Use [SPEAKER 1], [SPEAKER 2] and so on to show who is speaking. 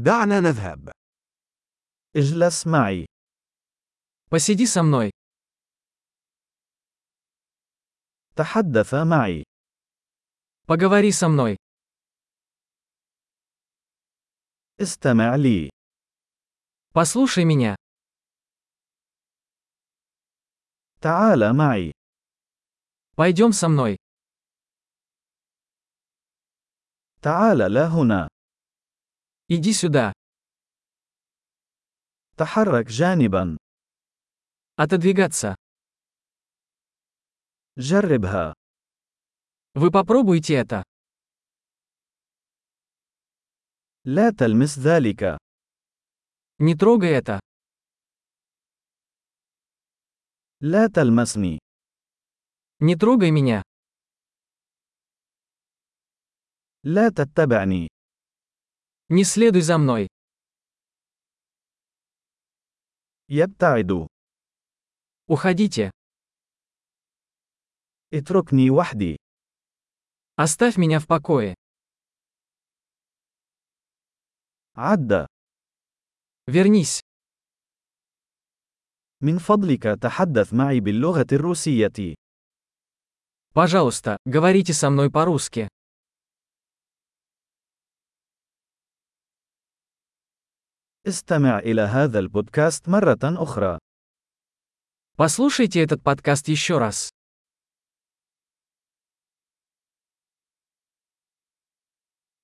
[SPEAKER 1] دعنا نذهب.
[SPEAKER 2] اجلس معي.
[SPEAKER 3] Посиди со мной.
[SPEAKER 2] تحدث معي.
[SPEAKER 3] Поговори со мной.
[SPEAKER 2] استمع لي.
[SPEAKER 3] Послушай меня.
[SPEAKER 2] تعال معي.
[SPEAKER 3] Пойдем со мной.
[SPEAKER 2] تعال لا هنا.
[SPEAKER 3] Иди сюда.
[SPEAKER 2] تحرك جانبا.
[SPEAKER 3] Отодвигаться.
[SPEAKER 2] جربها.
[SPEAKER 3] Вы попробуйте это.
[SPEAKER 2] لا تلمس ذلك.
[SPEAKER 3] Не трогай это.
[SPEAKER 2] لا تلمسني.
[SPEAKER 3] Не трогай меня.
[SPEAKER 2] لا تتبعني.
[SPEAKER 3] Не следуй за мной.
[SPEAKER 2] يبتعد.
[SPEAKER 3] Уходите.
[SPEAKER 2] اتركني وحدي.
[SPEAKER 3] Оставь меня в покое.
[SPEAKER 2] عد.
[SPEAKER 3] Вернись.
[SPEAKER 2] من فضلك تحدث معي باللغة الروسية.
[SPEAKER 3] Пожалуйста, говорите со мной по-русски.
[SPEAKER 2] استمع إلى هذا البودكاست مرة أخرى.
[SPEAKER 3] Послушайте этот подкаст еще раз.